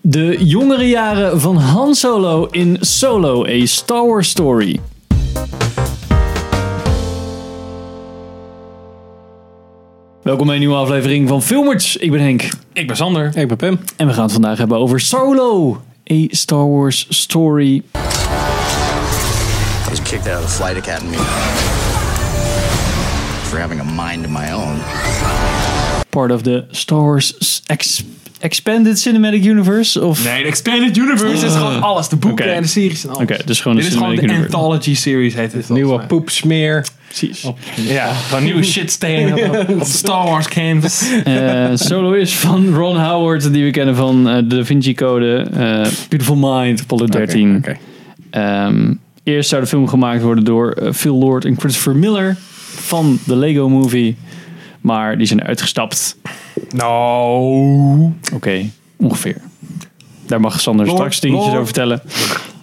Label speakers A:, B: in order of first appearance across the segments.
A: De jongere jaren van Han Solo in Solo, A Star Wars Story. Welkom bij een nieuwe aflevering van Filmers. Ik ben Henk.
B: Ik ben Sander.
C: Ik ben Pim.
A: En we gaan het vandaag hebben over Solo, A Star Wars Story.
D: I was kicked out of the flight academy for having a mind of my own.
A: Part of the Star Wars ex- Expanded Cinematic Universe? Of...
B: Nee, de Expanded Universe is gewoon alles. De boeken
A: Oké.
B: en de series en alles.
A: Oké, dus gewoon de
B: Dit is gewoon
A: Cinematic
B: de
A: Universe.
B: Anthology series heet het. volgens
C: Nieuwe
B: mij.
C: poepsmeer.
A: Precies.
B: Ja, gewoon nieuwe shit staan op, op de Star Wars canvas.
A: Eh, solo is van Ron Howard, die we kennen van eh, de Da Vinci Code, eh, Beautiful Mind, Apollo 13.
C: oké.
A: Ehm, eerst zou de film gemaakt worden door eh, Phil Lord en Christopher Miller van de Lego Movie. Maar die zijn uitgestapt.
B: Nou.
A: Oké, ongeveer. Daar mag Sander
B: Lord,
A: straks dingetjes
B: Lord.
A: over vertellen.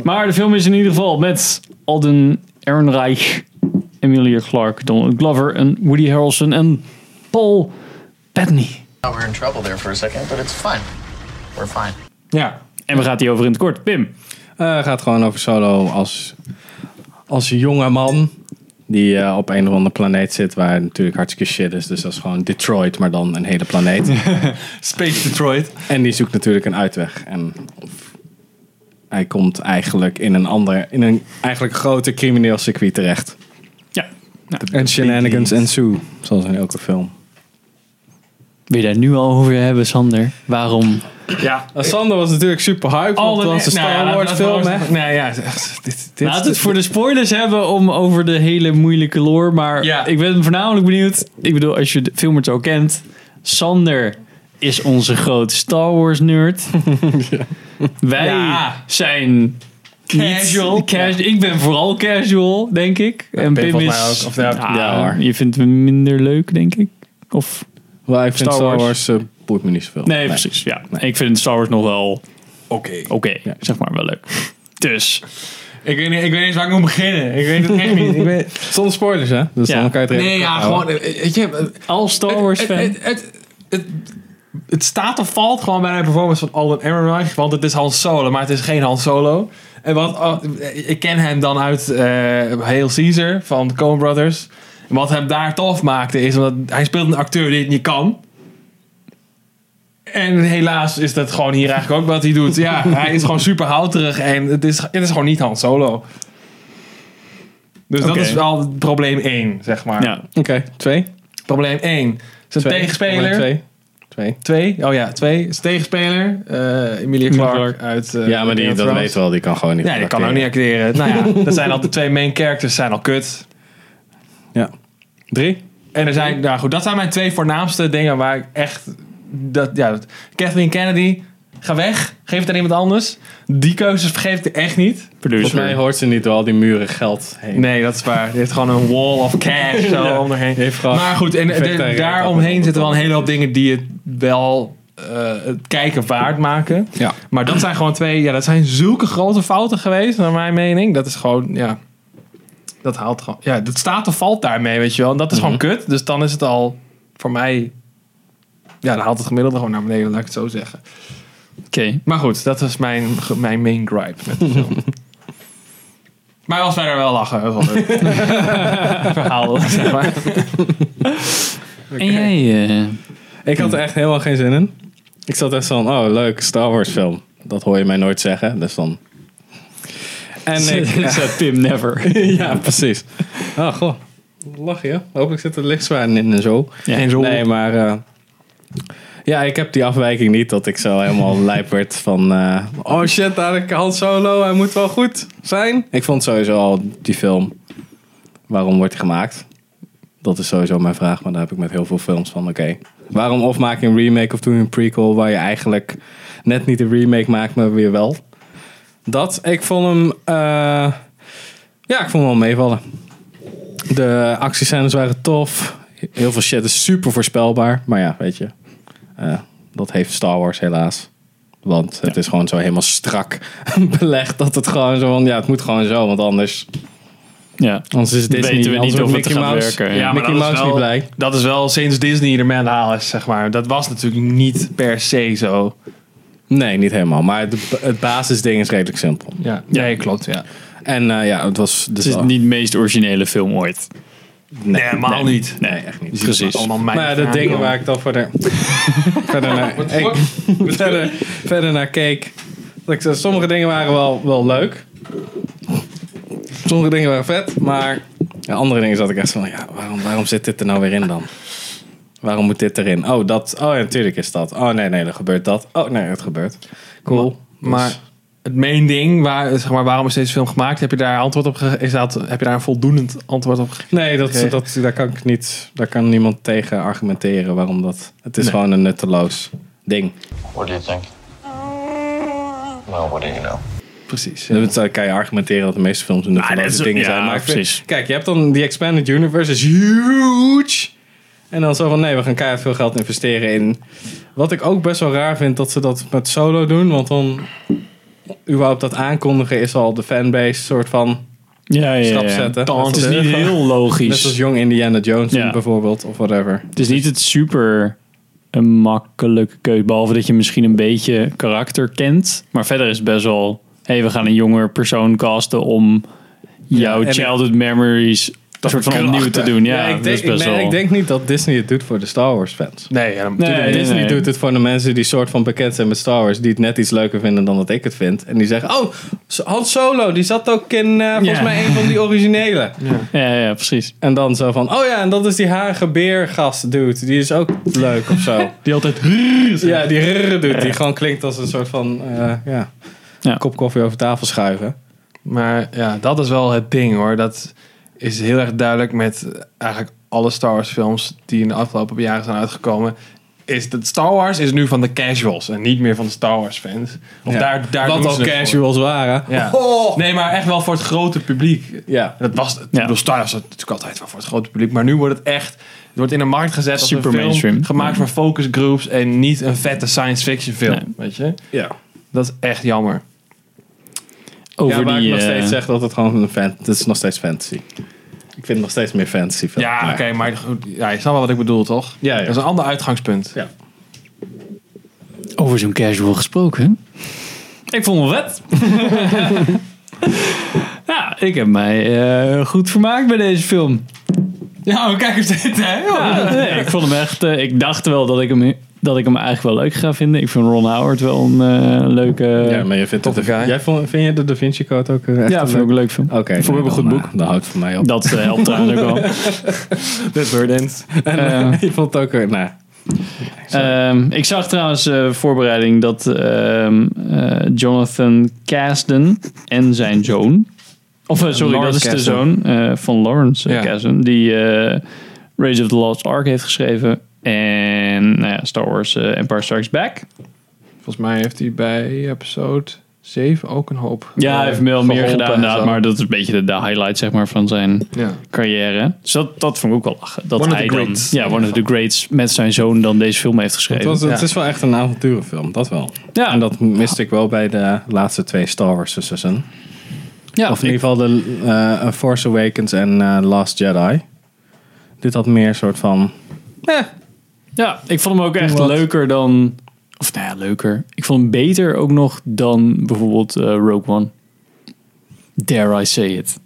A: Maar de film is in ieder geval met Alden Ehrenreich, Emilia Clarke, Donald Glover en Woody Harrelson en Paul Bettany.
D: Now we're in trouble there for a second, but it's fine. We're fine.
C: Ja.
A: En we gaan die over in het kort. Pim.
C: Eh, gaat gewoon over Solo als, als jonge man. Die eh, op een of andere planeet zit waar natuurlijk hartstikke shit is. Dus dat is gewoon Detroit, maar dan een hele planeet.
B: Space Detroit.
C: En die zoekt natuurlijk een uitweg. En hij komt eigenlijk in een ander, in een eigenlijk groter crimineel circuit terecht.
A: Ja.
C: En shenanigans en Sue, zoals in elke film.
A: Wil je daar nu al over hebben, Sander? Waarom?
B: Ja.
C: Eh,
B: Nou
C: Sander was natuurlijk super hype, want dat was een
A: nou
C: Star Wars film, hè?
B: Nee, ja. echt, Dit, dit,
A: Laat het voor de spoilers hebben om over de hele moeilijke lore. Maar
B: Ja.
A: ik ben voornamelijk benieuwd. Ik bedoel, als je de filmers al kent. Sander is onze grote Star Wars nerd. Wij
B: Ja.
A: zijn
B: Casual.
A: casual. Cas- Ik ben vooral casual, denk ik. en
C: Pim
A: Pim,
C: volgens mij
A: is...
C: ook. Of nou,
A: Ah,
C: ja, hoor.
A: je vindt me minder leuk, denk ik. Of...
C: Maar ik vind
A: Star
C: Star
A: Wars.
C: Wars, eh, boeit me niet zoveel.
A: Nee, precies. Ja. Ik vind Star Wars nog wel oké.
B: Oké.
A: Oh.
C: Ja.
A: Zeg maar wel leuk. Dus...
B: Ik, weet niet- ik weet niet eens waar ik moet beginnen. Ik weet het echt niet. Ik weet,
C: Zonder spoilers, hè? Dus
A: Ja.
C: dan kan je het redelijk
B: nee, ja,
C: kort houden.
B: gewoon. eh, Weet je,
A: Al Star Wars
C: Eh,
A: fan.
B: Het, het, het, het staat of valt gewoon bij de performance van Alden Ehrenreich. Want het is Han Solo, maar het is geen Han Solo. En wat, oh, ik ken hem dan uit eh Hail Caesar van de Coen Brothers. En wat hem daar tof maakte is omdat hij speelt een acteur die het niet kan. En helaas is dat gewoon hier eigenlijk ook wat hij doet. Ja, hij is gewoon super houterig en het is, het is gewoon niet Han Solo. Dus
A: Oké.
B: dat is wel probleem 1, zeg
C: eh,
B: maar.
A: ja.
C: Oké, twee.
B: Probleem 1. Zijn
C: Twee.
B: tegenspeler.
C: Nummer Twee. twee.
B: Twee? Oh ja, twee. Is tegenspeler. eh Emilia
A: Emilia
B: Clark,
A: Clarke.
B: uit. eh,
C: ja, maar die,
B: Game of
C: dat
B: Thrones.
C: weet wel, die kan gewoon niet.
B: Ja, die kan ook niet
C: acteren.
B: acteren. nou ja, dat zijn al de twee main characters, zijn al kut.
C: Ja. Drie?
B: En er zijn, nou goed, dat zijn mijn twee voornaamste dingen waar ik echt. Dat, ja, dat- Kathleen Kennedy, ga weg, geef het aan iemand anders. Die keuzes vergeef ik echt niet.
C: Volgens mij hoort ze niet door al die muren geld heen.
B: Nee, dat is waar. Die heeft gewoon een wall of cash zo om haar heen.
C: Die heeft gewoon-
B: Maar goed, en
C: Perfect
B: er-
C: eigenlijk.
B: daaromheen zitten wel een hele hoop dingen die het wel eh, het kijken waard maken.
C: Ja.
B: Maar dat zijn gewoon twee, ja, dat zijn zulke grote fouten geweest, naar mijn mening. Dat is gewoon, ja, dat haalt gewoon, ja, dat staat of valt daarmee, weet je wel. En dat is
C: Mhm.
B: gewoon kut. Dus dan is het al voor mij, ja, dan haalt het gemiddelde gewoon naar beneden, laat ik het zo zeggen.
A: Oké.
B: Maar goed, dat was mijn, mijn main gripe met de film. maar als wij er wel lachen, dat was wel leuk. verhaal, zeg maar.
A: En jij... eh,
C: Ik had er echt helemaal geen zin in. Ik zat echt van, oh leuk, Star Wars film. Dat hoor je mij nooit zeggen, dus dan... En ik...
A: ik zei Pim Never.
C: ja, precies. Oh, goh. Lach je. Hopelijk zit er lichtzwaarden in en zo.
A: En zo.
C: Nee, maar... eh, ja, ik heb die afwijking niet dat ik zo helemaal lijp werd van... eh, oh shit, daar heb ik Han Solo. Hij moet wel goed zijn. Ik vond sowieso al die film... Waarom wordt die gemaakt? Dat is sowieso mijn vraag. Maar daar heb ik met heel veel films van. Oké, waarom of maak je een remake of doe je een prequel... waar je eigenlijk net niet een remake maakt, maar weer wel? Dat, ik vond hem... eh, ja, ik vond hem wel meevallen. De actiescènes waren tof. Heel veel shit is super voorspelbaar. Maar ja, weet je. eh, dat heeft Star Wars helaas. Want het is gewoon zo helemaal strak belegd. Dat het gewoon zo van... Ja, het moet gewoon zo. Want anders,
A: Ja.
C: anders is Disney...
A: Weten we
C: anders
A: niet of
C: wordt
A: het
C: Mickey
A: gaat
C: Mouse,
A: werken, ja.
B: maar
C: Mickey
B: dat is
C: Mouse
B: wel-
C: niet blij.
B: Dat is wel sinds Disney ermee aan de haal is, zeg maar. Dat was natuurlijk niet per se zo.
C: Nee, niet helemaal. Maar het, het basisding is redelijk simpel.
B: Ja, nee, klopt. Ja.
C: En eh, ja, het was... Dus
A: Het is
C: al-
A: niet de meest originele film ooit.
B: Nee, helemaal niet.
A: Nee, echt niet. Precies.
B: Allemaal mijn
C: Maar ja, de
B: vragen.
C: dingen waar ik dan verder, verder, naar, ik, verder, verder naar keek. Dat ik, zei, sommige dingen waren wel, wel leuk. Sommige dingen waren vet. Maar ja, andere dingen zat ik echt van... Ja, waarom, waarom zit dit er nou weer in dan? Waarom moet dit erin? Oh, dat. Oh, ja, natuurlijk is dat. Oh, nee, nee, er gebeurt dat. Oh, nee, het gebeurt. Cool. Dus-
B: Maar het main ding, waar, zeg maar, waarom is deze film gemaakt? Heb je daar antwoord op ge- is dat, Heb je daar een voldoend antwoord op gegeven?
C: Nee, dat,
B: Oké.
C: dat, daar kan ik niet. Daar kan niemand tegen argumenteren waarom dat. Het is gewoon een nutteloos ding.
D: What do you think? Well, what do you know?
B: Precies.
C: Dan eh, kan je argumenteren dat de meeste films een
A: dat is-
C: nutteloze dingen
A: ja,
C: zijn. Maar ik vind-
A: precies.
C: kijk, je hebt dan die Expanded Universe is huge. En dan zo van nee, we gaan keihard veel geld investeren in. Wat ik ook best wel raar vind dat ze dat met solo doen. Want dan überhaupt dat aankondigen is al de fanbase soort van.
A: Ja, ja,
C: Stap
A: ja.
C: zetten.
A: Het is
C: Dat is
A: niet
C: gewoon-
A: heel
C: Net als
A: logisch.
C: Young Indiana Jones
A: Ja.
C: bijvoorbeeld of whatever.
A: Het is niet het super een makkelijke keuze. Behalve dat je misschien een beetje karakter kent. Maar verder is het best wel... Hé, hey, we gaan een jonger persoon casten om jouw
C: en ik-
A: childhood memories... Dat soort van opnieuw te doen. Ja,
C: ik,
A: dat
C: denk,
A: is best
C: nee,
A: wel...
C: ik denk niet dat Disney het doet voor de Star Wars fans.
B: Nee, ja,
A: Nee,
B: natuurlijk.
A: nee,
C: Disney
A: nee.
C: doet het voor de mensen die soort van bekend zijn met Star Wars. Die het net iets leuker vinden dan dat ik het vind. En die zeggen, oh, Han Solo, die zat ook in eh, volgens
A: Ja.
C: mij een van die originele.
A: Ja, ja, precies.
C: En dan zo van, oh ja, en dat is die harige beergast dude. Die is ook leuk of zo.
A: Die altijd...
C: ja, die rrrr dude, die gewoon klinkt als een soort van, eh, ja,
A: Ja.
C: kop koffie over tafel schuiven.
B: Maar ja, dat is wel het ding hoor. Dat is heel erg duidelijk met eh, eigenlijk alle Star Wars films die in de afgelopen jaren zijn uitgekomen. Is dat Star Wars is nu van de casuals en niet meer van de Star Wars fans. Of
C: Ja.
B: daar, daar
C: Wat
B: doen
C: al
B: ze het voor.
C: casuals waren.
B: Ja.
C: Oh.
B: Nee, maar echt wel voor het grote publiek.
C: Ja.
B: Dat was, ik bedoel, Star Wars was natuurlijk altijd wel voor het grote publiek. Maar nu wordt het echt, het wordt in de markt gezet als
A: Super
B: een film
A: mainstream.
B: gemaakt voor focusgroups en niet een vette science fiction film,
A: Nee.
B: weet je.
C: ja.
B: Dat is echt jammer.
A: Over
C: ja, waar
A: die...
C: ik nog
A: eh,
C: steeds zeg dat het gewoon een fan, het is nog steeds fantasy. Ik vind het nog steeds meer fantasy film.
B: Ja,
C: Maar-
B: oké, maar goed, ja, je snapt wel wat ik bedoel, toch?
C: Ja, ja.
B: Dat is een ander uitgangspunt.
C: Ja.
A: Over zo'n casual gesproken. Ik vond hem vet. ja, ik heb mij eh, goed vermaakt bij deze film.
B: Ja,
A: oh,
B: kijk eens dit, hè?
A: Ja, nee, ik vond hem echt. eh, ik dacht wel dat ik hem, dat ik hem eigenlijk wel leuk ga vinden. Ik vind Ron Howard wel een eh, leuke.
C: Ja, maar je vindt dat
B: Toffe
C: de,
B: guy.
C: jij vond, vind je de Da Vinci Code ook eh, echt
A: ja,
C: een
A: vind ik ook
C: leuk-
A: een leuk film.
B: Oh.
C: Oké.
A: Vond ik
C: nee,
A: ook een
C: dan,
A: goed
C: eh,
A: boek.
C: Dan houdt het voor mij op.
A: Dat eh, helpt trouwens ook wel.
B: Dit Burdens.
A: Eh,
C: je vond het ook weer, nou,
A: Ehm, ik zag trouwens eh, voorbereiding dat ehm, eh, Jonathan Kasdan en zijn zoon. Of eh, sorry, dat
B: Lawrence
A: is de
B: Kasdan.
A: zoon eh, van Lawrence eh,
B: Ja.
A: Kasdan. Die eh Rage of the Lost Ark heeft geschreven. En nou ja, Star Wars eh, Empire Strikes Back.
B: Volgens mij heeft hij bij episode 7 ook een hoop.
A: Ja, hij
B: eh,
A: heeft wel meer
B: geholpen
A: gedaan
B: en
A: inderdaad.
B: zo.
A: Maar dat is een beetje de, de highlight zeg maar, van zijn
B: Ja.
A: carrière. Dus dat, dat vond ik ook wel lachen. Dat
B: One of the
A: hij dan,
B: greats.
A: ja, One of the Greats met zijn zoon dan deze film heeft geschreven.
C: het, was, het
B: Ja.
C: is wel echt een avonturenfilm, dat wel.
A: Ja.
C: En dat miste ik wel bij de laatste twee Star Wars seizoenen.
A: ja,
C: Of in ieder geval de eh, Force Awakens en eh, Last Jedi. Dit had meer soort van...
A: Ja, ik vond hem ook echt
C: wat.
A: leuker dan. Of nou ja, leuker. Ik vond hem beter ook nog dan bijvoorbeeld eh, Rogue One. Dare I say it.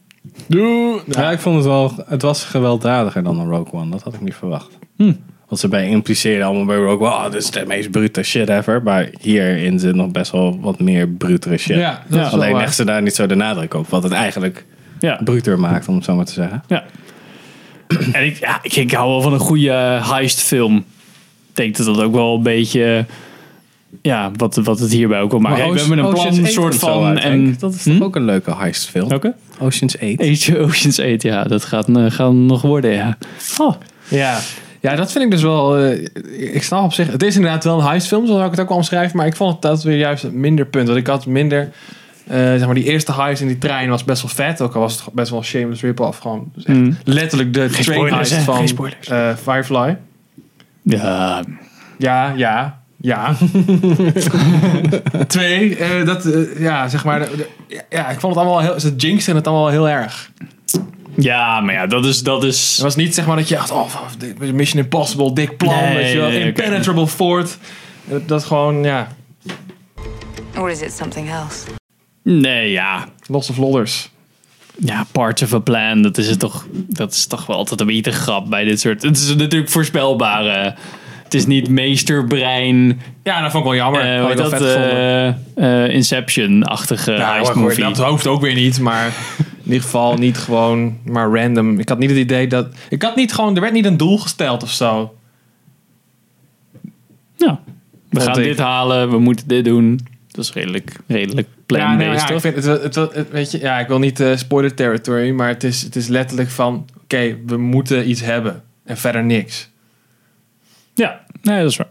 B: Doe!
C: Ja. ik vond het wel... Het was gewelddadiger dan een Rogue One. Dat had ik niet verwacht.
B: Hm.
C: Wat ze bij impliceren allemaal bij Rogue One. Oh, dit is de meest brute shit ever. Maar hierin zit nog best wel wat meer brutere shit.
B: Ja, dat
A: Ja.
B: is wel
C: Alleen
B: waar.
C: leggen ze daar niet zo de nadruk op. Wat het eigenlijk
A: Ja.
C: bruter maakt, om het zo maar te zeggen.
A: ja. en ik, ja, ik, ik hou wel van een goede heistfilm. Ik denk dat dat ook wel een beetje. Ja, wat, wat het hierbij ook wel maakt. Hey, we hebben een plan, een soort van. En, Hm?
C: dat is toch ook een leuke heistfilm?
A: Oké.
C: Ocean's 8.
A: Age of Oceans 8, ja, dat gaat, eh, gaan nog worden, ja. Oh,
B: Ja. ja, dat vind ik dus wel. eh, ik snap op zich. Het is inderdaad wel een heistfilm, zoals ik het ook wel omschrijf. Maar ik vond het dat weer juist een minder punt. Want ik had minder. eh, zeg maar, die eerste heist in die trein was best wel vet. Ook al was het best wel een shameless rip-off. Gewoon dus echt
A: Mm.
B: letterlijk de train
A: spoilers,
B: heist
A: hè? Geen
B: van
A: spoilers.
B: eh, Firefly.
A: ja.
B: Ja, ja, ja. Twee, eh, dat, eh, ja, zeg maar. de- de- ja, ik vond het allemaal heel. Ze jinxen het allemaal heel erg.
A: ja, maar ja, dat is. Dat
B: Het
A: is
B: was niet zeg maar dat je dacht, oh, dit is Mission Impossible, dik plan,
A: Nee,
B: weet je wel,
A: nee, oké.
B: impenetrable fort. Dat, dat gewoon, ja.
E: Or is it something else?
A: Nee, ja.
B: Lots of Lodders.
A: Ja, part of a plan. Dat is, het toch, dat is toch wel altijd een beetje de grap bij dit soort... Het is natuurlijk voorspelbare... Het is niet meesterbrein,
B: Ja, dat vond ik wel jammer.
A: eh,
B: Had
A: hoe
B: ik
A: heet
B: wel
A: dat,
B: vet gevonden.
A: eh, eh, Inception-achtige
B: Ja,
A: heist
B: hoor,
A: movie.
B: dat hoofd ook weer niet, maar in ieder geval niet gewoon maar random. Ik had niet het idee dat ik had niet gewoon er werd niet een doel gesteld of zo.
A: Ja. We
B: Vond
A: gaan
B: ik.
A: dit halen, we moeten dit doen. Dat is redelijk, redelijk
B: ja,
A: plan-based,
B: nee, ja, ik
A: toch?
B: vind het, wel- het, wel- het- weet je, ja, ik wil niet eh, spoiler territory, maar het is, het is letterlijk van oké, we moeten iets hebben en verder niks.
A: Ja, nee, dat is waar.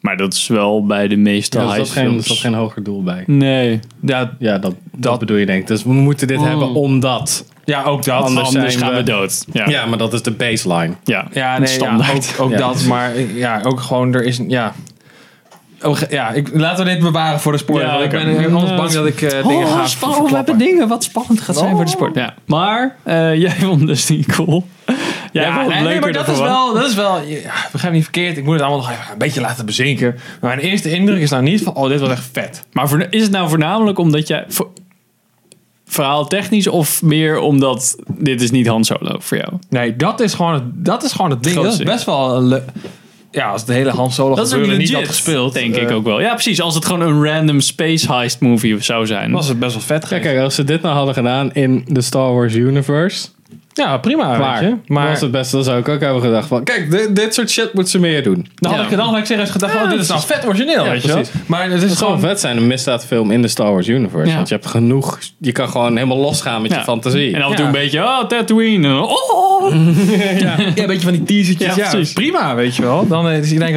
A: Maar dat is wel bij de meeste
C: Ja, er zat geen, er
A: heistfilms.
C: zat geen hoger doel bij.
A: Nee.
B: Ja,
C: Ja, dat, dat, bedoel je denk ik. Dus we moeten
B: Oh.
C: dit hebben omdat.
B: ja ook dat.
C: Anders
A: Anders,
C: zijn
A: gaan we,
C: we-
A: dood. Ja,
C: Ja, maar dat is de baseline.
A: ja.
B: Ja, nee, ja,
A: standaard.
B: ook, ook
C: Ja.
B: dat, maar eh, ja, ook gewoon er is een- ja. Oh, ge- ja, ik, laten we dit bewaren voor de spoiler.
A: Ja,
B: want ik
A: oké. Mm.
B: ben eh, anders
A: Ja,
B: bang dat ik eh, dingen ga
A: we
B: verklappen.
A: Oh, hebben dingen wat spannend gaat
B: Oh.
A: zijn voor de sport. Ja. Maar eh, jij vond dus niet cool. Jij
B: Ja,
A: vond het
B: nee, nee,
A: leuker
B: maar dat
A: dan
B: is
A: verwacht.
B: wel, dat is wel ja, begrijp me niet verkeerd. Ik moet het allemaal nog even een beetje laten bezinken. Maar mijn eerste indruk is nou niet van, oh, dit was echt vet.
A: Maar voor- is het nou voornamelijk omdat jij... Voor, verhaal technisch of meer omdat dit is niet Han Solo voor jou?
B: Nee, dat is gewoon het, dat is gewoon het ding. Dat
A: Grootste
B: is best wel een le- Ja, als de hele Han Solo
A: Dat is ook
B: gebeuren
A: legit,
B: niet had gespeeld,
A: denk ik
B: eh,
A: ook wel. Ja, precies. Als het gewoon een random space heist movie zou zijn.
B: was het best wel vet.
C: Ja,
B: geweest.
C: kijk, als ze dit nou hadden gedaan in de Star Wars universe,
B: Ja, prima.
C: klaar.
B: Weet je. Maar
C: was het beste, dan zou ik ook hebben gedacht van, kijk, dit, dit soort shit moeten ze meer doen. Nou,
B: dan had
A: Ja.
B: ik dan had ik serieus gedacht, oh, dit is nou vet origineel.
C: Ja,
B: weet je wel.
C: precies.
B: Maar het is
C: Het zou
B: gewoon
C: vet zijn, een misdaadfilm in de Star Wars universe.
A: Ja.
C: Want je hebt genoeg, je kan gewoon helemaal losgaan met
A: Ja.
C: je fantasie.
A: En af en toe
B: Ja.
A: een beetje, oh, Tatooine. En dan, oh, oh, oh.
B: Ja, een beetje van die teasertjes.
A: Ja,
B: Ja,
A: precies.
B: prima, weet je wel. Dan, eh, is iedereen,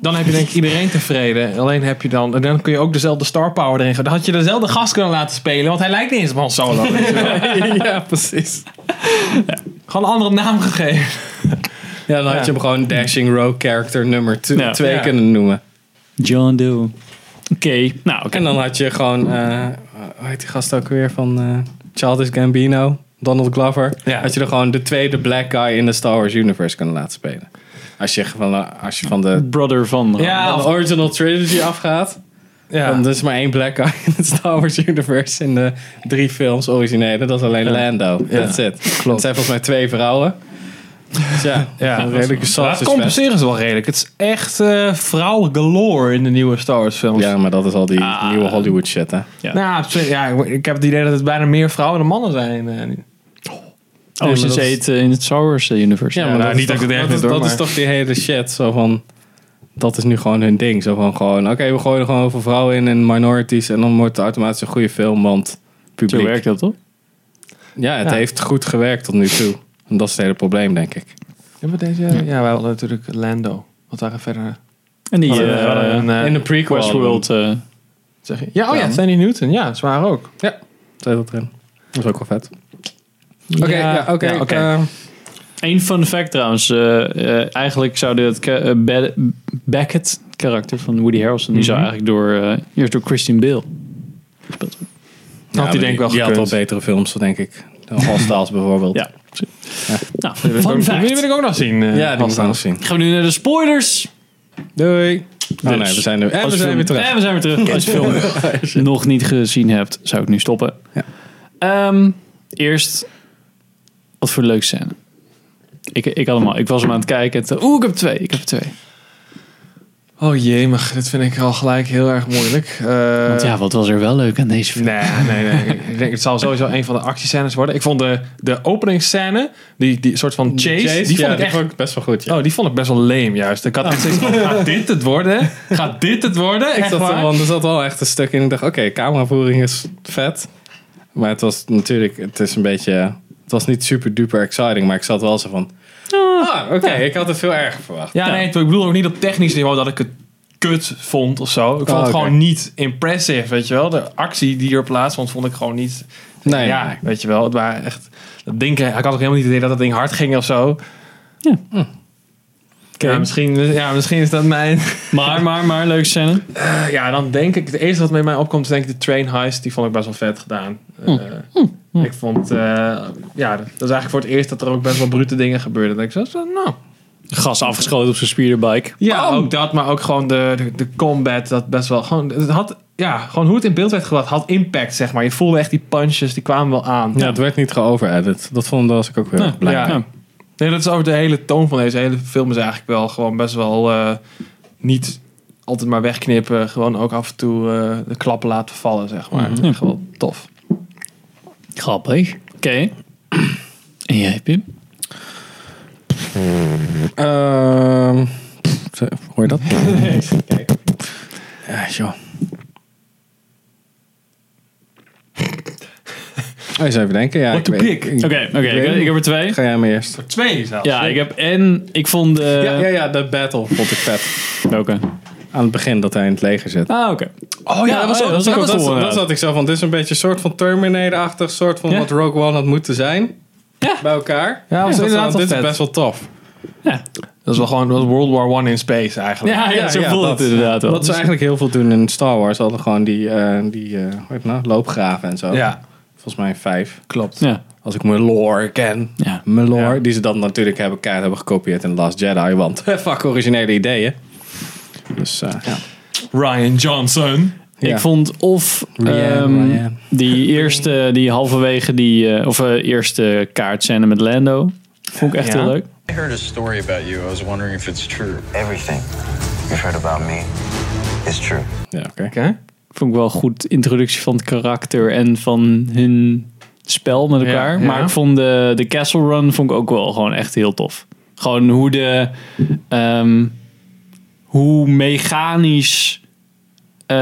B: dan heb je denk ik iedereen tevreden. Alleen heb je dan... En dan kun je ook dezelfde star power erin gaan. Dan had je dezelfde gast kunnen laten spelen. Want hij lijkt niet eens op Han Solo. weet je wel.
C: ja, precies.
B: Gewoon een andere naam gegeven.
C: Ja, dan had
B: Ja.
C: je hem gewoon Dashing Rogue character nummer 2
A: Ja.
B: Ja.
C: kunnen noemen.
A: John Doe. Oké, nou, oké.
C: En dan had je gewoon, eh hoe heet die gast ook weer van eh Childish Gambino, Donald Glover.
B: Ja.
C: Had je er gewoon de tweede black guy in de Star Wars universe kunnen laten spelen. Als je van, eh, als je van de,
A: Brother van. eh,
B: Ja,
C: van de
B: of-
C: original trilogy afgaat,
B: ja.
C: dan is er maar één black guy in het Star Wars universe in de drie films originele. Dat is alleen Lando. That's it. Klopt. Het zijn volgens mij twee vrouwen. Dus ja,
B: Ja.
C: een redelijke
B: Dat
C: sausage
B: compenseren ze wel redelijk. Het is echt eh vrouw galore in de nieuwe Star Wars films.
C: Ja, maar dat is al die
A: Ah.
C: nieuwe Hollywood shit, hè.
B: Nou, op zich, ja, ik- ik heb het idee dat het bijna meer vrouwen dan mannen zijn. eh, nu.
A: Oh,
C: Nee,
A: ze
C: maar dat-
A: heet eh, in het Star Wars eh, universe.
C: Ja, maar
B: nou,
C: dat
B: niet
C: is
B: dat ik
C: toch,
B: het erg
C: dat,
B: vind,
C: is,
B: hoor,
C: dat
B: maar-
C: is toch die hele shit. Zo van, dat is nu gewoon hun ding. Zo van gewoon, oké, we gooien er gewoon over vrouwen in en minorities. En dan wordt het automatisch een goede film, want
A: Zo
C: publiek.
A: werkt dat, toch?
C: Ja, het
B: Ja.
C: heeft goed gewerkt tot nu toe. En dat is het hele probleem, denk ik.
B: Hebben we deze? Ja, wij hadden natuurlijk Lando. Wat waren verder? eh,
A: En die
B: Hadden we- hadden we
A: eh
B: een, eh,
C: in de prequel.
A: Westworld... eh,
B: zeg je? Ja, oh ja, Sandy Newton. Ja, zwaar ook.
C: Zet dat erin. Dat is ook wel vet. Oké, ja, oké.
B: ja, oké.
C: eh,
A: Eén fun fact trouwens. eh, eh, eigenlijk zou het Beckett, het karakter van Woody Harrelson, die zou eigenlijk door, eh, eerst door Christian Bale.
C: ja,
B: had hij
C: maar
B: denk ik wel
C: die had wel
B: gekund.
C: betere films, denk ik. Hostiles bijvoorbeeld. Eh,
A: Ja. Nou,
B: Die wil
A: fun
B: ik ook- Die wil
A: fact.
B: ik ook nog zien. eh,
C: ja die moet
B: vast
C: ik nog zien.
A: Gaan we nu naar de spoilers.
C: Doei. Oh
A: Dus.
C: nee, we zijn er. En we zijn weer terug.
B: Eh,
A: En we zijn weer terug. Als je de film nog niet gezien hebt, zou ik nu stoppen. Ehm, eerst, wat voor leuke scène. Ik, ik, had hem al, ik was hem aan het kijken. en toen- Oeh, ik heb twee. Ik heb twee.
B: Oh jee, maar dit vind ik al gelijk heel erg moeilijk. Eh,
A: Want ja, wat was er wel leuk aan deze film?
B: Nee, nee, nee. Ik denk, het zal sowieso een van de actiescènes worden. Ik vond de, de openingsscène, die, die soort van chase, die vond
C: ja,
B: ik echt...
C: best wel goed. Ja.
B: Oh, die vond ik best wel lame juist. Ik had echt zoiets van, gaat dit het worden? Gaat dit het worden?
C: Ik
B: Echt
C: zat er,
B: waar?
C: want er zat wel echt een stuk in. Ik dacht, oké, cameravoering is vet. Maar het was natuurlijk, het is een beetje, het was niet super duper exciting. Maar ik zat wel zo van, ah, oké, ik had het veel erger verwacht.
B: Ja, nee, ik bedoel ook niet op technisch niveau dat ik het kut vond of zo. Ik vond
C: Oh,
B: het
C: oké.
B: gewoon niet impressive, weet je wel. De actie die er plaatsvond, vond ik gewoon niet...
C: Nee,
B: ja,
C: nee.
B: weet je wel. Het waren echt... Dat ding, ik had ook helemaal niet het idee dat dat ding hard ging of zo.
A: Ja.
B: Hm. Ja, misschien, ja, misschien is dat mijn...
A: Maar, maar, maar, leuke scène.
B: Ja, dan denk ik... Het eerste wat met mij opkomt is denk ik de train heist. Die vond ik best wel vet gedaan.
C: Hm.
B: Eh, Ik vond... eh, ja, dat is eigenlijk voor het eerst dat er ook best wel brute dingen gebeurden. Dat ik zo, zo, nou...
A: Gas afgeschoten op zijn speederbike.
B: Ja, ook dat, maar ook gewoon de, de, de combat. Dat best wel gewoon. Het had ja, gewoon hoe het in beeld werd gebracht had impact, zeg maar. Je voelde echt die punches, die kwamen wel aan.
C: Ja, het werd niet geoveredit. Dat vond was ik ook weer erg blij.
B: ja.
A: Ja.
B: Nee, dat is over de hele toon van deze hele film is eigenlijk wel gewoon best wel eh, niet altijd maar wegknippen. Gewoon ook af en toe eh, de klappen laten vallen, zeg maar.
A: Mhm.
B: Echt wel tof.
A: Grappig. Oké. En jij, Pim?
C: Ehm, pff, hoor je dat? Ja, joh. Oh, Eens even denken. Ja,
B: What
C: ik
B: the
C: weet-
B: pick?
C: ik-
A: Oké, oké. ik, ik heb er twee.
C: Ga jij maar eerst.
B: Twee zelfs.
A: Ja, ik heb en ik vond de...
C: ja, ja, ja, de battle vond ik vet.
A: Welke?
C: Aan het begin dat hij in het leger zit.
A: Ah, oké.
B: Oh ja,
A: Ja,
B: dat was
A: oh
B: ook...
A: ja, dat was ook
C: dat,
A: wel
C: dat,
A: cool, inderdaad.
C: dat zat ik zo van. Dit is een beetje een soort van Terminator-achtig. soort van
A: Ja.
C: wat Rogue One had moeten zijn. Bij elkaar.
B: Ja, was
C: Ik dacht
B: inderdaad
C: van,
B: wel
C: Dit is
B: vet.
C: best wel tof.
B: Dat is wel gewoon dat was World War One in space eigenlijk.
A: Ja, ja,
C: Ja,
A: zo
C: ja,
A: voelt
C: dat-
A: het inderdaad wel.
C: Wat ze eigenlijk heel veel doen in Star Wars. Ze hadden gewoon die, eh die eh, hoe heet het nou? loopgraven en zo.
B: Ja,
C: Volgens mij vijf.
B: klopt.
A: Ja.
C: Als ik mijn lore ken.
A: Ja.
C: Mijn lore.
B: Ja.
C: Die ze dan natuurlijk hebben, keihard hebben gekopieerd in The Last Jedi. Want fuck originele ideeën. Dus eh, ja.
B: Ryan Johnson.
C: Ja.
A: Ik vond of
C: Rianne,
A: ehm,
C: Rianne.
A: die eerste, die halverwege die, eh, of eh, eerste kaartscène met Lando. Vond ik echt
B: Ja.
A: heel leuk.
D: I heard a story about you. I was wondering if it's true.
E: Everything you've heard about me is true.
C: Ja, oké.
B: Oké.
A: Vond ik wel een goed introductie van het karakter en van hun spel met
B: Ja,
A: elkaar.
B: ja.
A: Maar ik vond de, de Castle Run vond ik ook wel gewoon echt heel tof. Gewoon hoe de ehm, hoe mechanisch eh,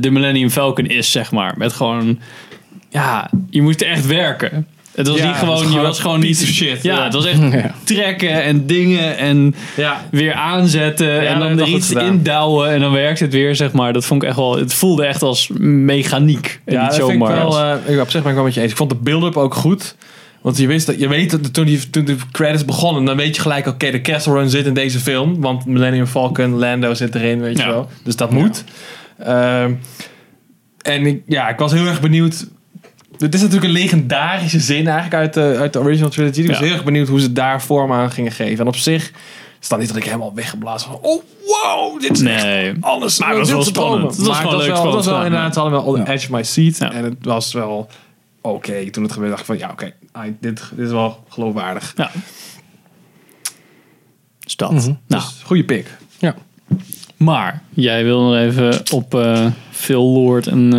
A: de Millennium Falcon is, zeg maar. Met gewoon ja, je moest echt werken. Het was
B: Ja,
A: niet
B: het was
A: gewoon, je
B: gewoon
A: was
B: een
A: gewoon
B: piece
A: niet
B: of shit.
A: Ja,
B: Ja.
A: het was echt trekken en dingen en
B: Ja.
A: weer aanzetten en
B: dat
A: dan
B: heb
A: er
B: ik
A: iets
B: goed gedaan.
A: indouwen en dan werkt het weer, zeg maar. Dat vond ik echt wel, het voelde echt als mechaniek. En
B: Ja,
A: niet
B: dat
A: zomaar.
B: vind ik wel.
A: als-
B: eh, ik op zich ben ik wel met je eens. Ik vond de build-up ook goed. Want je, wist dat, je weet dat toen, die, toen de credits begonnen, dan weet je gelijk, oké, de Castle Run zit in deze film. Want Millennium Falcon, Lando zit erin, weet
A: Ja.
B: je wel. Dus dat moet. Ehm, en ik, ja, ik was heel erg benieuwd. Dit is natuurlijk een legendarische zin eigenlijk uit de, uit de original trilogy. Ik was
A: Ja.
B: heel erg benieuwd hoe ze daar vorm aan gingen geven. En op zich is dat niet dat ik helemaal weggeblazen van, oh wow, dit is echt
A: nee.
B: alles.
A: Maar het was
B: dit
A: wel
B: is
A: spannend.
B: bomen.
A: Het was
B: Maar
A: gewoon
B: het
A: leuk
B: wel, het
A: spannend
B: was wel
A: gedaan,
B: inderdaad, ze hadden wel on the edge of my seat.
A: Ja.
B: En het was wel oké. Toen het gebeurde dacht ik van, ja oké, ah, dit, dit is wel geloofwaardig.
A: Ja. Dus dat. Nou,
B: Dus goede pick.
C: Ja.
A: maar jij wil nog even op eh, Phil Lord en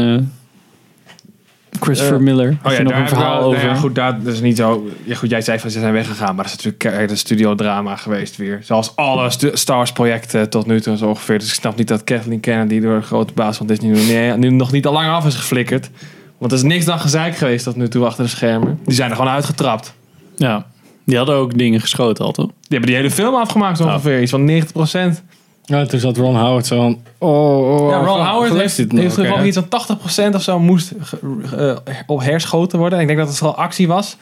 A: eh, Christopher
B: Eh,
A: Miller. Heb je nog een
B: hebben we-
A: verhaal
B: nou
A: over?
B: ja, goed, daar, dat is niet zo. Ja, goed, jij zei van ze zijn weggegaan, maar dat is natuurlijk keihard een studiodrama geweest weer. Zoals alle stu- Star Wars projecten tot nu toe zo ongeveer. Dus ik snap niet dat Kathleen Kennedy door de grote baas van Disney nu- nee, nu nog niet al lang af is geflikkerd. Want er is niks dan gezeik geweest tot nu toe achter de schermen. Die zijn er gewoon uitgetrapt.
A: Ja. Die hadden ook dingen geschoten al, toch?
B: Die hebben die hele film afgemaakt
C: Nou.
B: zo ongeveer. Iets van 90%.
C: Ja, toen zat Ron Howard zo van... Oh, oh,
B: Ja,
C: oh,
B: Ron Howard
C: geleefd
B: heeft,
C: dit
B: heeft
C: nog? Oké.
B: geloof ik iets van 80% of zo moest ge- ge- eh, op herschoten worden. Ik denk dat het vooral actie was.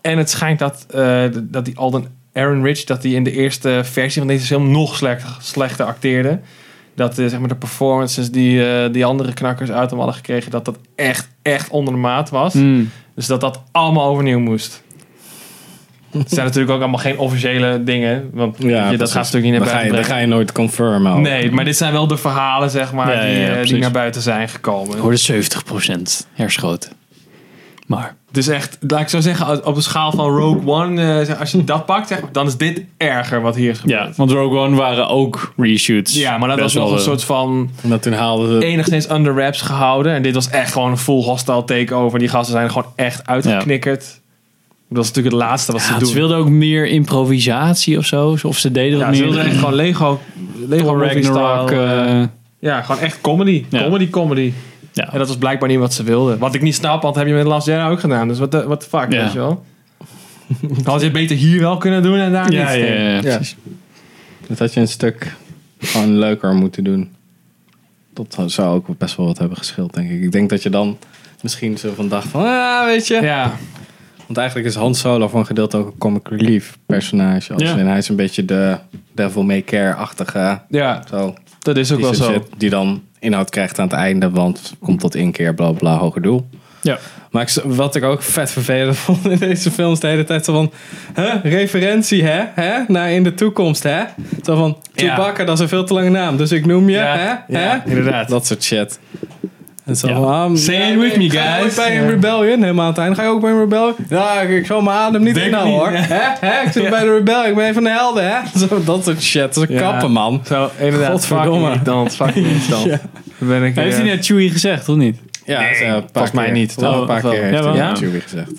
B: En het schijnt dat, eh, dat die Alden Aaron Rich... dat die in de eerste versie van deze film nog slecht, slechter acteerde. Dat eh, zeg maar de performances die eh, die andere knakkers uit hem hadden gekregen... dat dat echt, echt onder de maat was.
C: Mm.
B: Dus dat dat allemaal overnieuw moest. Het zijn natuurlijk ook allemaal geen officiële dingen. Want weet je,
C: Ja,
B: dat
C: precies.
B: gaat natuurlijk niet
C: Dan
B: naar
C: ga, je,
B: buiten
C: dan
B: brengen.
C: ga je nooit confirmen. al.
B: Nee, maar dit zijn wel de verhalen, zeg maar,
A: Oh. Ja, ja,
B: die,
A: ja,
B: eh, die
A: precies.
B: naar buiten zijn gekomen.
A: Ik hoorde 70% herschoten. Maar.
B: Dus echt, laat ik zo zeggen, als- op de schaal van Rogue One, eh, zeg- als je dat pakt, zeg, dan is dit erger wat hier is gebeurd.
A: Ja, want Rogue One waren ook reshoots.
B: Ja, maar dat
A: Best
B: was nog
A: wel,
B: een
A: eh,
B: soort van
C: En toen haalden ze...
B: enigszins under wraps gehouden. En dit was echt gewoon een full hostile takeover. Die gasten zijn er gewoon echt uitgeknikkerd. Dat was natuurlijk het laatste wat
A: Ja,
B: ze
A: want
B: doen.
A: ze wilden ook meer improvisatie of zo. Of ze deden dat
B: ja,
A: meer.
B: ze wilden echt gewoon Lego, Lego
A: Thor
B: movie
A: Ragnarok.
B: style, eh,
A: eh,
B: ja, gewoon echt comedy.
A: Ja.
B: Comedy, comedy.
A: ja.
B: En dat was blijkbaar niet wat ze wilden. Wat ik niet snap, want heb je met Last Jedi ook gedaan. Dus wat de what the fuck,
A: Ja.
B: weet je wel. Had je het beter hier wel kunnen doen en daar
A: ja,
B: niet.
A: ja, ja, ja,
C: Ja.
A: precies.
C: Dat had je een stuk gewoon leuker moeten doen. Dat zou ook best wel wat hebben geschild, denk ik. Ik denk dat je dan misschien zo van dacht van, ah, weet je.
B: Ja.
C: Want eigenlijk is Han Solo voor een gedeelte ook een comic relief personage. Als
A: Ja.
C: in, hij is een beetje de devil may care-achtige.
B: ja,
C: Zo,
B: dat is ook
C: die
B: wel
C: soort
B: zo.
C: shit die dan inhoud krijgt aan het einde, want komt tot inkeer, bla bla, bla, hoger doel.
A: Ja.
C: Maar ik- wat ik ook vet vervelend vond in deze films de hele tijd zo van... Hè, referentie, hè? hè? Naar in de toekomst, hè? Zo van,
B: Ja.
C: Chewbacca, dat is een veel te lange naam, dus ik noem je,
B: Ja,
C: hè?
B: ja,
C: hè?
B: inderdaad.
C: Dat soort shit. En zo,
A: Ja.
C: um,
B: Say it with me,
C: Ga je
B: guys.
C: ooit bij een
B: Ja.
C: rebellion helemaal aan het einde? Ga je ook bij een rebellion? Ja, ik, ik zal mijn adem niet
B: Denk
C: inhouden
B: niet,
C: hoor.
B: ja.
C: Hè? Hè? Ik zit bij de rebellion, ik ben een van de helden, hè? Zo, dat soort shit. Dat is een
B: Ja.
C: kappen, man.
B: Zo, inderdaad.
C: Godverdomme.
B: Fucking irritant, fucking irritant.
C: Ja.
B: Dan ben ik,
A: Heeft
B: eh,
A: hij net Chewie gezegd, of niet?
C: Ja, dat is, eh, een paar
B: volgens mij
C: keer.
B: niet.
C: Wel een
A: Oh,
C: paar
A: wel.
C: keer heeft
A: Ja,
C: hij
A: wel.
C: ja,
A: Ja.
C: Chewie gezegd.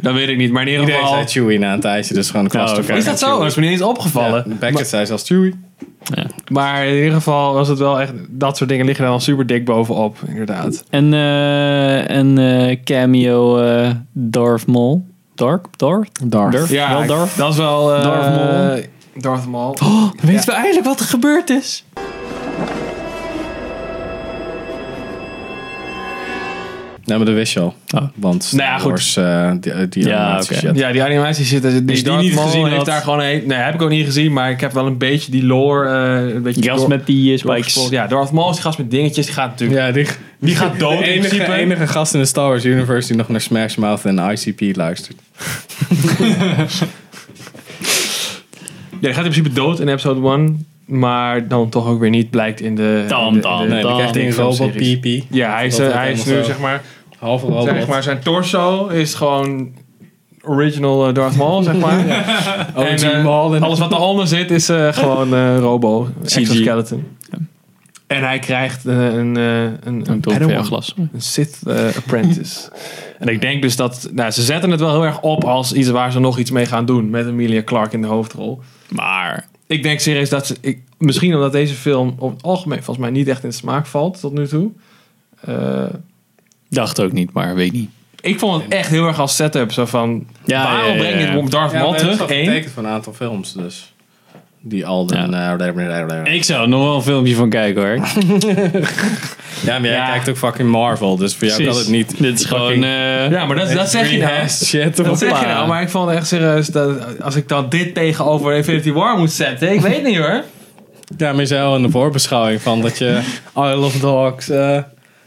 B: Dat weet ik niet, maar in ieder
C: Iedereen
B: geval...
C: zei Chewie na een tijdje, dus gewoon
B: Oh,
A: Ja,
C: kwast
A: oké.
B: Is dat zo? Dat is me niet eens opgevallen.
C: Beckett zei zelfs Chewie.
B: Maar in ieder geval was het wel echt... Dat soort dingen liggen er dan super dik bovenop, inderdaad.
A: En eh, en eh, cameo eh Darth Maul. Dark? Darth?
C: Darth.
A: Darth?
B: Ja,
A: Wel Darth?
B: dat is wel... eh,
A: Darth Maul.
B: Darth Maul.
A: Weet Oh, we eigenlijk wat er gebeurd is?
C: Nee, maar dat wist je al.
A: Oh.
C: Want Star
B: Nou ja, goed.
C: Wars, eh, die, die
A: Ja,
C: animatie
A: oké.
C: shit.
B: Ja, die animatie zit... Die,
A: die
B: Darth
A: niet
B: Maul
A: gezien
B: heeft
A: had?
B: daar gewoon een... Nee, heb ik ook niet gezien, maar ik heb wel een beetje die lore... eh, een beetje
A: Die gast
B: door-
A: met die eh,
B: doorgespoeld.
A: spikes.
B: Ja, Darth Maul is die gast met dingetjes. Die gaat natuurlijk...
C: Ja, die,
B: Die gaat dood
C: de
B: in
C: enige,
B: principe.
C: enige gast in de Star Wars universe die nog naar Smash Mouth en ICP luistert.
B: Ja, die gaat in principe dood in episode 1. Maar dan toch ook weer niet, blijkt in de... in
A: Dan,
B: de- in
A: dan,
B: de-
A: dan.
C: Nee, dan krijgt hij een
B: die
C: robot
B: filmseries.
C: PP.
B: Ja, hij is,
C: Dat
B: eh,
C: wordt
B: hij is
C: helemaal
B: nu
C: zo.
B: zeg maar...
C: Half robot.
B: Zeg maar, zijn torso is gewoon original eh, Darth Maul, zeg maar.
C: Oh,
B: En, eh, alles wat daaronder zit is eh, gewoon eh, Robo, exoskeleton. En hij krijgt eh, een, eh, een, een, Padawan,
A: glas.
B: een Sith eh, apprentice. en ik denk dus dat... Nou, ze zetten het wel heel erg op als iets waar ze nog iets mee gaan doen. Met Emilia Clarke in de hoofdrol.
A: Maar
B: Ik denk serieus dat ze... Ik, misschien omdat deze film op het algemeen volgens mij niet echt in de smaak valt tot nu toe. Eh,
A: dacht ook niet, maar weet niet.
B: ik vond het echt heel erg als setup. Zo van,
A: Ja,
B: waarom
A: ja, ja,
B: breng je
A: ja.
B: het op Darth Maul terug? Eén.
C: van een aantal films dus. Die Alden... eh,
A: Ik zou er nog wel een filmpje van kijken hoor.
C: ja, maar jij
B: Ja.
C: kijkt ook fucking Marvel, dus voor jou kan het niet.
A: Dit is gewoon.
C: fucking-
A: eh,
B: Ja, maar dat, dat zeg je nou.
C: Rehashed shit.
B: Dat
C: of-
B: zeg je
A: Hoppa.
B: nou, maar ik vond echt serieus dat als ik dan dit tegenover Infinity War moet zetten, ik weet niet hoor.
C: Ja, maar je zei al in de voorbeschouwing van dat je I Love Dogs... eh,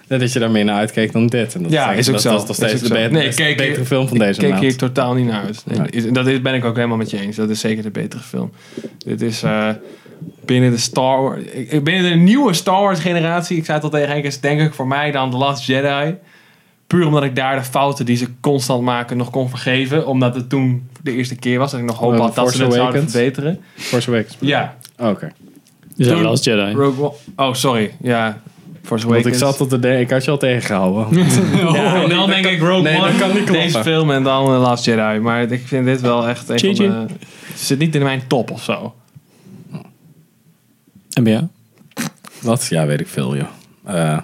C: dat je daar meer naar uitkeek dan dit. En dat
B: Ja, is ook
C: dat,
B: zo.
C: Dat is nog
B: Is
C: steeds
B: ook
C: de
B: zo.
C: betere,
B: Nee, kijk,
C: betere
B: ik-
C: film van
B: Ik
C: deze
B: keek
C: maand.
B: hier totaal niet naar uit. Nee, is- Dat is, ben ik ook helemaal met je eens. Dat is zeker de betere film. Dit is eh, binnen de Star Wars... ik- ik- Binnen de nieuwe Star Wars generatie, ik zei het al tegen Henk, is denk ik voor mij dan The Last Jedi. Puur omdat ik daar de fouten die ze constant maken nog kon vergeven. Omdat het toen de eerste keer was. Dat ik nog hoop
C: Oh,
B: had dat
C: Force
B: ze het zouden
C: Awakens.
B: verbeteren.
C: Force Awakens.
B: Ja,
C: Oké.
A: is dat
B: Toen-
A: Last Jedi.
B: Rogue One. Oh, sorry. Ja, Force
C: Want
B: Awakens.
C: ik zat tot de... Ik had je al tegengehouden.
B: Ja, en dan denk ik Rogue
C: nee, Oh, dat
B: One,
C: kan niet kloppen.
B: deze film en dan eh, Last Jedi. Maar ik vind dit wel echt een van
A: Gigi.
B: de... Zit niet in mijn top of zo.
A: MBA.
C: Wat? Ja, weet ik veel, joh. Eh,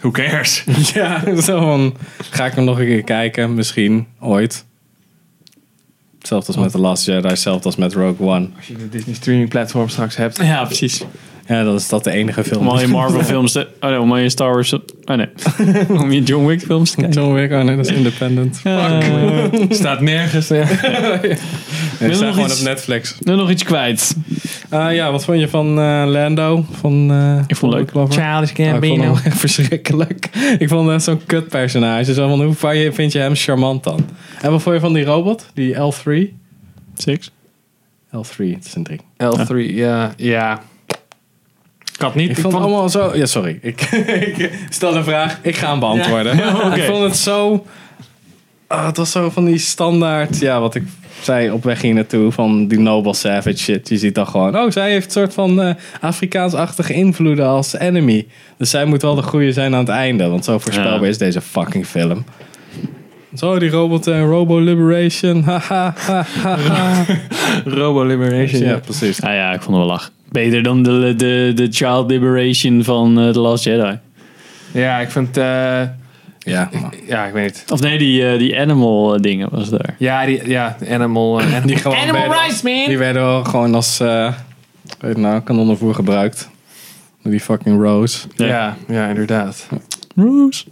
B: Who cares?
C: ja, zo van... Ga ik hem nog een keer kijken? Misschien. Ooit. Hetzelfde
B: Oh.
C: als met The Last Jedi. Hetzelfde als met Rogue One.
B: Als je de Disney streaming platform straks hebt.
A: Ja, precies.
C: Ja, dan is dat de enige film.
A: Om al je Marvel films te... Oh nee, om al je Star Wars... Oh nee. om je John Wick films te kijken.
C: John Wick, oh nee, dat is independent.
B: Staat nergens. Ja.
C: Ik
A: nog
C: sta gewoon
A: iets-
C: op Netflix.
A: Nu nog iets kwijt.
C: Eh, ja, wat vond je van eh, Lando? Van, eh,
A: Ik vond het leuk.
C: Glover?
B: Childish
C: Oh, ik vond
B: Gambino.
C: hem echt verschrikkelijk. Ik vond hem zo'n kut personage. Zo van, hoe vaak je- vind je hem charmant dan? En wat vond je van die robot? Die L3?
A: Six.
C: L3, het is een drie.
B: L3, ja. ja. Ik had niet...
C: Ik vond het allemaal zo. Ja, sorry. Ik, ik stel de vraag, ik ga hem beantwoorden. Ik vond het zo. ah, het was zo van die standaard. Ja, wat ik zei op weg hier naartoe. Van die Noble Savage shit. Je ziet dan gewoon. Oh, zij heeft een soort van eh, Afrikaans-achtige invloeden als enemy. Dus zij moet wel de goede zijn aan het einde. Want zo voorspelbaar
A: Ja.
C: is deze fucking film. Zo, die robot en Robo Liberation. Haha. ha, ha, ha.
B: Robo Liberation.
C: ja, precies.
A: Ah ja, ik vond het wel lach. Beter dan de, de, de Child Liberation van eh, The Last Jedi.
B: Ja, ik vind... eh,
C: Ja.
B: ja, ik weet niet.
A: Of nee, die, eh, die animal eh, dingen was daar.
B: Ja, die, ja Animal... eh,
C: Die gewoon
B: animal
C: werden-
B: Rights, man!
C: Die werden wel gewoon als eh weet je nou, kanonnenvoer gebruikt. Door Die fucking Rose.
B: Ja, ja, inderdaad.
A: Roos.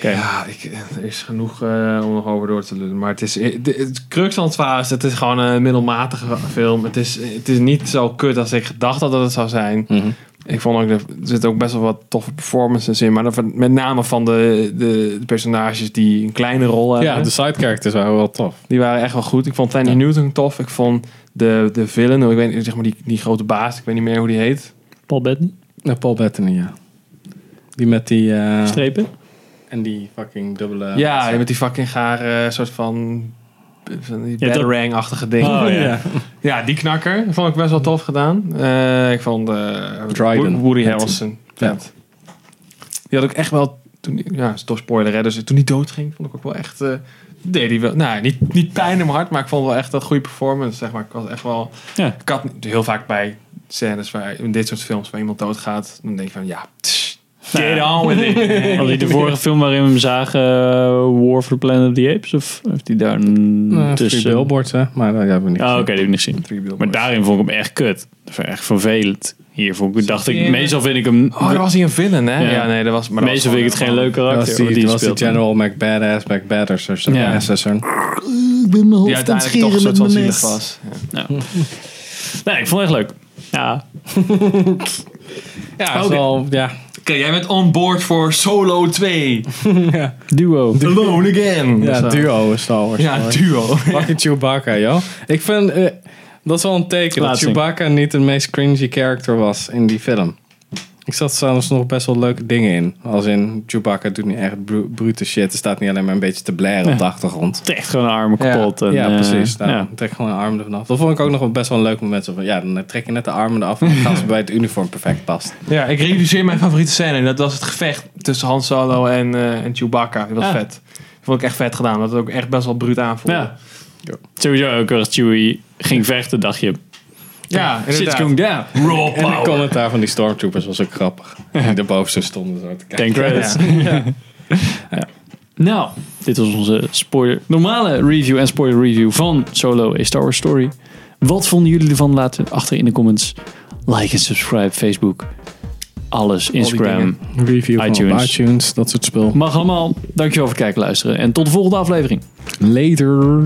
B: Ja, ik, er is genoeg eh, om nog over door te doen. Maar het is. Het, het crux van het verhaal is: het is gewoon een middelmatige film. Het is, het is niet zo kut als ik gedacht had dat het zou zijn.
A: Mhm.
B: Ik vond ook, de- er zitten ook best wel wat toffe performances in. Maar dan van- met name van de, de, de personages die een kleine rol hebben. Dus
C: Ja, de side characters waren wel tof.
B: Die waren echt wel goed. Ik vond Fanny
C: Ja.
B: Newton tof. Ik vond de, de villain, ik weet niet, zeg maar die, die grote baas, ik weet niet meer hoe die heet.
A: Paul Bettany.
C: Paul Bettany, ja. Die met die... eh,
A: Strepen?
C: en die fucking dubbele... eh,
B: ja, met die fucking gare eh, soort van... van die
A: Ja, dat-
B: Batarang-achtige ding.
A: Oh, ja.
B: Ja, die knakker vond ik best wel tof gedaan. Eh, ik vond eh,
C: Dryden.
B: Wo- Woody
C: Ja,
B: Harrelson.
C: die.
B: vet. Die had ik echt wel... Toen, die- ja, is toch spoiler, hè? Dus toen hij doodging, vond ik ook wel echt... eh, deed hij wel... Nou, niet, niet pijn in mijn hart, maar ik vond wel echt dat goede performance, zeg maar. Ik was echt wel...
A: Ja.
B: Ik had heel vaak bij scènes waar... In dit soort films waar iemand doodgaat, dan denk ik van... Ja, tss, get on with it.
A: Had hij de vorige film waarin we hem zagen, eh, War for the Planet of the Apes? Of heeft hij daar een
C: Uh,
A: tussen?
C: billboards, hè. Maar dat hebben we niet
A: Oh, oké,
C: gezien.
A: die heb ik niet gezien.
B: Three Billboards.
A: Maar daarin vond ik hem echt kut. Dat was echt vervelend. Hier vond ik, dacht ik,
B: Ja.
A: meestal vind ik hem...
B: Oh, daar was hij een villain, hè?
A: Ja.
B: Ja, nee, dat was... Maar dat
A: meestal
B: was
A: vind ik het geen
B: gewoon-
A: leuk
C: Dat
A: karakter.
C: was die,
A: wat die
C: dat was die
A: speelt.
C: General McBadass, McBadass of zo.
A: Ja. Ik ben mijn
B: Die uiteindelijk toch een soort van zielig was. Ja.
A: Nee, ik vond het echt leuk. Ja,
B: Ja,
C: Ja,
B: zo-
C: wel, ja.
B: Oké, jij bent on board voor Solo 2.
A: duo.
B: Alone again.
C: ja
B: Zo.
C: duo is Star Wars.
B: Ja, duo.
C: Fucking Chewbacca, joh. Ik vind, eh, dat is wel een teken dat
A: Plaatsing.
C: Chewbacca niet het meest cringy character was in die film. Ik zat zelfs nog best wel leuke dingen in. Als in, Chewbacca doet niet echt bru- brute shit. Er staat niet alleen maar een beetje te blaren op de achtergrond.
A: Echt gewoon armen
B: Ja. Nou.
A: kapot. en,
C: ja,
A: eh,
C: precies. Daar
A: ja.
C: Trek gewoon de armen ervan af. Dat vond ik ook nog wel best wel een leuk moment. Zo van, ja, dan trek je net de armen eraf en dan gaan ze bij het uniform perfect past.
B: Ja, ik realiseer mijn favoriete scène. En dat was het gevecht tussen Han Solo en, eh, en Chewbacca. Dat was
A: Ja.
B: vet. Dat vond ik echt vet gedaan. Dat het ook echt best wel bruut aanvoelde.
A: Ja. Sowieso ook als Chewie ging vechten, dacht je...
B: ja
A: Shit's
B: inderdaad.
A: going down.
B: Raw
C: En de
B: power.
C: commentaar van die stormtroopers was ook grappig. Die daarboven zo stonden zo te
A: Ten
C: kijken.
A: credits.
B: Ja.
A: Nou, dit was onze spoiler, normale review en spoiler review van Solo, A Star Wars Story. Wat vonden jullie ervan? Laat het achter in de comments. Like en subscribe, Facebook, alles, Instagram.
B: dingen.
C: Review
A: van op iTunes.
C: dat soort spul.
A: Mag allemaal. Dankjewel voor het kijken en luisteren. En tot de volgende aflevering.
C: Later.